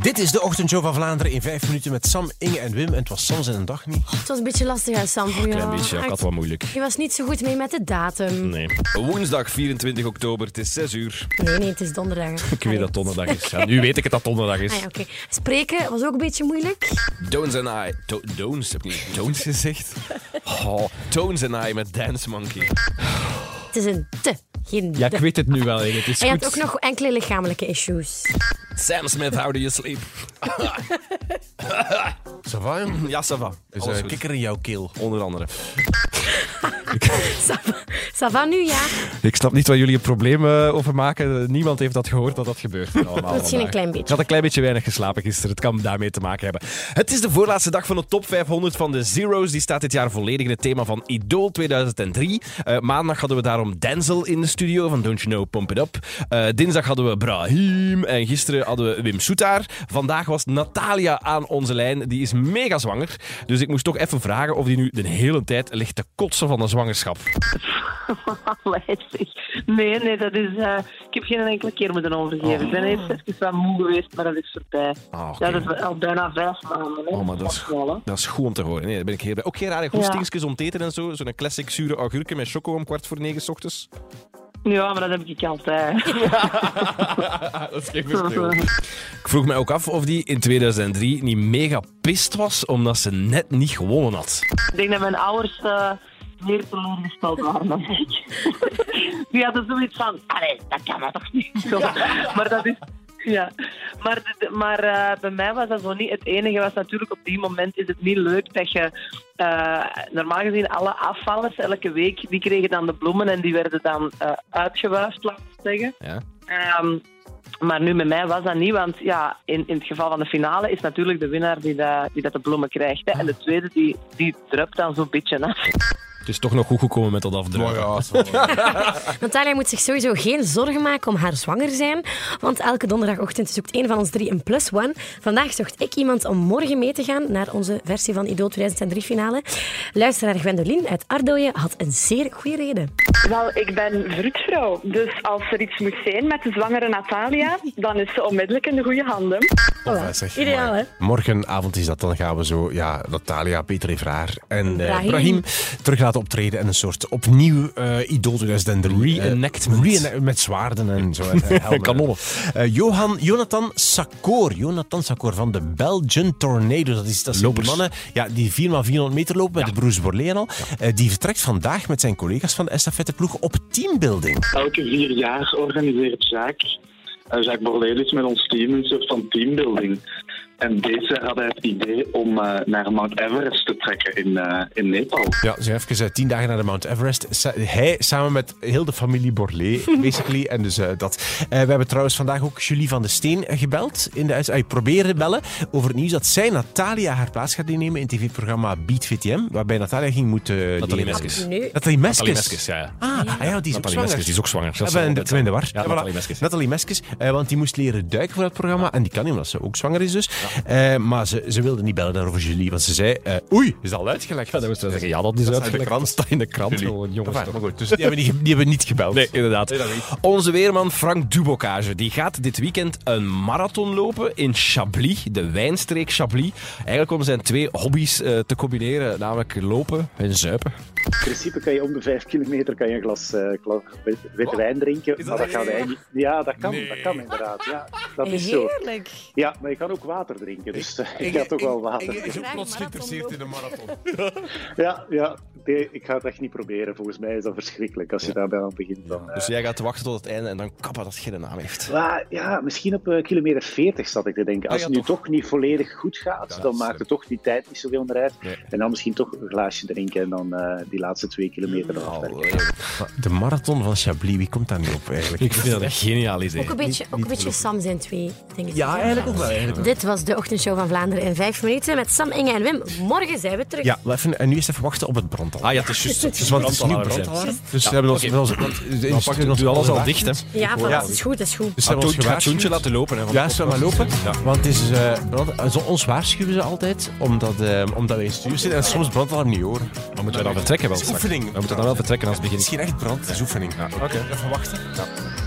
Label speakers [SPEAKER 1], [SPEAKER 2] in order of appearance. [SPEAKER 1] Dit is de ochtendshow van Vlaanderen in vijf minuten met Sam, Inge en Wim. En het was Sans en een dag niet.
[SPEAKER 2] Het was een beetje lastig, hè, Sam, voor
[SPEAKER 3] Klein
[SPEAKER 2] jou.
[SPEAKER 3] beetje, ja, ik
[SPEAKER 2] Echt,
[SPEAKER 3] had wel moeilijk.
[SPEAKER 2] Je was niet zo goed mee met de datum.
[SPEAKER 3] Nee. Woensdag 24 oktober, het is 6 uur.
[SPEAKER 2] Nee, nee, het is donderdag. hè.
[SPEAKER 3] Ik weet dat donderdag is. Ja, nu weet ik het dat donderdag
[SPEAKER 2] Ah ja,
[SPEAKER 3] is.
[SPEAKER 2] oké. Spreken was ook een beetje moeilijk.
[SPEAKER 3] Tones and I. To- Don'ts, heb ik niet Don'ts gezegd? Oh, Tones and I met Dance Monkey.
[SPEAKER 2] Het is een te, geen
[SPEAKER 3] Ja,
[SPEAKER 2] de.
[SPEAKER 3] ik weet het nu wel. hè. Het is
[SPEAKER 2] En je had ook
[SPEAKER 3] goed.
[SPEAKER 2] nog enkele lichamelijke issues.
[SPEAKER 3] Sam Smith, how do you sleep?
[SPEAKER 1] Sava, jong?
[SPEAKER 3] Ja, ça
[SPEAKER 1] Is
[SPEAKER 3] va. Alles
[SPEAKER 1] er een
[SPEAKER 3] goed.
[SPEAKER 1] Dus, eh, kikker in jouw keel?
[SPEAKER 3] Dus, eh, Onder andere.
[SPEAKER 2] Savan nu, ja.
[SPEAKER 3] Ik snap niet waar jullie een probleem eh, over maken. Niemand heeft dat gehoord dat dat gebeurt. hier Allemaal
[SPEAKER 2] Misschien
[SPEAKER 3] vandaag.
[SPEAKER 2] een klein beetje.
[SPEAKER 3] Ik had een klein beetje weinig geslapen gisteren. Het kan daarmee te maken hebben. Het is de voorlaatste dag van de top 500 van de Zero's. Die staat dit jaar volledig in het thema van Idol 2003. Eh, maandag hadden we daarom Denzel in de studio van Don't You Know Pump It Up. Eh, dinsdag hadden we Brahim. En gisteren hadden we Wim Soetaar. Vandaag was Natalia aan onze lijn. Die is mega zwanger. Dus ik moest toch even vragen of die nu de hele tijd ligt te kotsen van de zwangerschap.
[SPEAKER 4] Leipzig. Nee, nee, dat is. eh, ik heb geen enkele keer moeten overgeven. Ik ben eerst even wat moe geweest, maar dat is voorbij.
[SPEAKER 3] Ah, Oh. oké.
[SPEAKER 4] Ja, dat is al bijna vijf maanden. Hè.
[SPEAKER 3] Oh, maar dat is,
[SPEAKER 4] wel, hè.
[SPEAKER 3] dat is goed om te horen. Nee, daar ben ik heel blij. Ook geen rare hoestingsjes om te eten en zo. Zo'n classic zure augurken met choco om kwart voor negen 's ochtends.
[SPEAKER 4] Ja, maar dat heb ik altijd.
[SPEAKER 3] dat is geen verschil. Ik vroeg mij ook af of die in 2003 niet mega pist was omdat ze net niet gewonnen had.
[SPEAKER 4] ik denk dat mijn ouders eh, meer teleurgesteld waren dan ik. Die hadden zoiets van: Allee, dat kan maar toch niet. Zo. Maar dat is. Ja, maar, dit- maar eh, bij mij was dat zo niet. Het enige was natuurlijk op die moment is het niet leuk dat je eh, normaal gezien alle afvallers elke week, die kregen dan de bloemen en die werden dan eh uitgewuifd, laat ik zeggen.
[SPEAKER 3] Ja.
[SPEAKER 4] Ehm, maar nu met mij was dat niet, want ja, in, in het geval van de finale is natuurlijk de winnaar die, dat die dat de bloemen krijgt. Hè. En de tweede die, die drupt dan zo'n beetje af.
[SPEAKER 3] Het is toch nog goed gekomen met dat afdrukken.
[SPEAKER 2] Natalia moet zich sowieso geen zorgen maken om haar zwanger zijn. Want elke donderdagochtend zoekt één van ons drie een plus one. Vandaag zocht ik iemand om morgen mee te gaan naar onze versie van Idol 2003-finale. Luisteraar Gwendoline uit Ardooien had een zeer goede reden.
[SPEAKER 5] Wel, ik ben vroedvrouw. Dus als er iets moet zijn met de zwangere Natalia, dan is ze onmiddellijk in de goede handen.
[SPEAKER 1] Of, eh, zeg,
[SPEAKER 2] ideaal,
[SPEAKER 1] maar.
[SPEAKER 2] hè?
[SPEAKER 1] Morgenavond is dat, dan gaan we zo ja, Natalia, Peter Evraar en eh
[SPEAKER 2] Brahim.
[SPEAKER 1] Brahim terug laten optreden en een soort opnieuw eh Idol 2003. eh,
[SPEAKER 3] Reenactment.
[SPEAKER 1] reenact- met zwaarden en zo. En, eh, helmen.
[SPEAKER 3] Kanonnen.
[SPEAKER 1] Eh, Johan, Jonathan Sakor. Jonathan Sakor van de Belgian Tornado. Dat is dat zijn
[SPEAKER 3] Lopers.
[SPEAKER 1] mannen ja, die 4x400 meter lopen met de Bruce Borlée en al. Eh, die vertrekt vandaag met zijn collega's van de estafetteploeg op teambuilding.
[SPEAKER 6] Elke vier jaar organiseert Jacques, uh, Jacques Borlelis met ons team een soort van teambuilding. En deze hadden het idee om eh, naar Mount Everest te trekken in, eh, in Nepal.
[SPEAKER 1] Ja, ze zijn even eh, tien dagen naar de Mount Everest. Sa- hij samen met heel de familie Borlée, basically. En dus eh, dat. Eh, we hebben trouwens vandaag ook Julie van de Steen eh, gebeld. In de, uit- eh, proberen bellen over het nieuws dat zij Natalia haar plaats gaat innemen in tv-programma Beat VTM. Waarbij Natalia ging moeten
[SPEAKER 3] Nathalie
[SPEAKER 1] leren.
[SPEAKER 3] Meskes.
[SPEAKER 2] Nu,
[SPEAKER 1] Nathalie
[SPEAKER 3] Nathalie
[SPEAKER 1] Meskes.
[SPEAKER 3] Meskes, ja. ja.
[SPEAKER 1] Ah, ah ja, die is ook
[SPEAKER 3] Nathalie Meskes,
[SPEAKER 1] zwanger.
[SPEAKER 3] die is ook zwanger.
[SPEAKER 1] Ja,
[SPEAKER 3] Dat
[SPEAKER 1] ben ik ben in de war.
[SPEAKER 3] Ja,
[SPEAKER 1] voilà.
[SPEAKER 3] Nathalie Meskes.
[SPEAKER 1] Nathalie Meskes, eh, want die moest leren duiken voor dat programma. En die kan niet, omdat ze ook zwanger is dus. Eh, maar ze, ze wilde niet bellen daarover Julie, want ze zei... eh, oei, is dat al uitgelekt?
[SPEAKER 3] Ja, dat moesten we zeggen. Ja, dat is
[SPEAKER 1] staat in de
[SPEAKER 3] uitgelekt.
[SPEAKER 1] krant.
[SPEAKER 3] Dat staat in de krant.
[SPEAKER 1] Jullie.
[SPEAKER 3] gewoon, jongens.
[SPEAKER 1] Enfin,
[SPEAKER 3] toch.
[SPEAKER 1] maar goed, dus die hebben niet, die hebben niet gebeld.
[SPEAKER 3] Nee, inderdaad. Onze weerman Frank Dubocage die gaat dit weekend een marathon lopen in Chablis, de wijnstreek Chablis. Eigenlijk om zijn twee hobby's eh, te combineren, namelijk lopen en zuipen. Dus
[SPEAKER 7] In principe kan je om de vijf kilometer kan je een glas, eh, glas wit- witte wijn drinken. maar dat gaat eigenlijk niet. Ja, dat kan, dat kan inderdaad. Ja, dat is zo.
[SPEAKER 2] heerlijk.
[SPEAKER 7] Ja, maar je kan ook water drinken, dus eh, ik ga toch wel water.
[SPEAKER 1] is ook
[SPEAKER 2] plots geïnteresseerd
[SPEAKER 1] in de marathon.
[SPEAKER 7] Ja, ja nee, ik ga het echt niet proberen. Volgens mij is dat verschrikkelijk als je daarbij aan begint. Dan, eh.
[SPEAKER 3] Dus jij gaat wachten tot het einde en dan kappa dat het geen naam heeft.
[SPEAKER 7] Maar ja, misschien op eh, kilometer 40 zat ik te denken. Als
[SPEAKER 3] ja,
[SPEAKER 7] het nu toch niet volledig goed gaat, dan maakt het toch die tijd niet zoveel meer uit.
[SPEAKER 3] Nee.
[SPEAKER 7] En dan misschien toch een glaasje drinken en dan eh, die laatste twee kilometer eraf werken.
[SPEAKER 1] De marathon van Chablis, wie komt daar nu op eigenlijk?
[SPEAKER 3] Ik vind dat een geniaal idee.
[SPEAKER 2] Ook een beetje, ook een beetje Sam zijn twee dingen.
[SPEAKER 1] Ja, eigenlijk ook wel. Eigenlijk.
[SPEAKER 2] Dit was de ochtendshow van Vlaanderen in vijf minuten met Sam, Inge en Wim. Morgen zijn we terug.
[SPEAKER 1] Ja, wel even, en nu is even wachten op het brandal.
[SPEAKER 3] Ah ja, het is juist. Het is
[SPEAKER 1] want het is nieuw
[SPEAKER 3] brandalarm, hè.
[SPEAKER 1] brandalarm. Dus we hebben ons...
[SPEAKER 3] oké.
[SPEAKER 1] we hebben ons- want de
[SPEAKER 3] Dan
[SPEAKER 1] industrie
[SPEAKER 3] pakt het
[SPEAKER 1] ons
[SPEAKER 3] nu alles al
[SPEAKER 1] vandaag.
[SPEAKER 3] dicht, hè.
[SPEAKER 2] ja, voilà, het is goed, het is goed.
[SPEAKER 1] Dus ze
[SPEAKER 3] Ah,
[SPEAKER 1] hebben ons
[SPEAKER 3] toen- Ik ga het
[SPEAKER 1] gewaarschuwd.
[SPEAKER 3] zoentje laten lopen. Hè, van
[SPEAKER 1] Ja,
[SPEAKER 3] de
[SPEAKER 1] zullen we maar
[SPEAKER 3] podcast.
[SPEAKER 1] lopen.
[SPEAKER 3] Ja.
[SPEAKER 1] Want het is, eh, brand- eh, zo- ons waarschuwen ze altijd, omdat, eh, omdat wij in stuur zitten en soms brandalarm niet horen.
[SPEAKER 3] Dan moeten we dan vertrekken wel
[SPEAKER 1] Het is
[SPEAKER 3] straks.
[SPEAKER 1] oefening.
[SPEAKER 3] We moeten dan wel vertrekken als het begint.
[SPEAKER 1] Ah, Misschien echt brand, dat is oefening. Oké. Even wachten.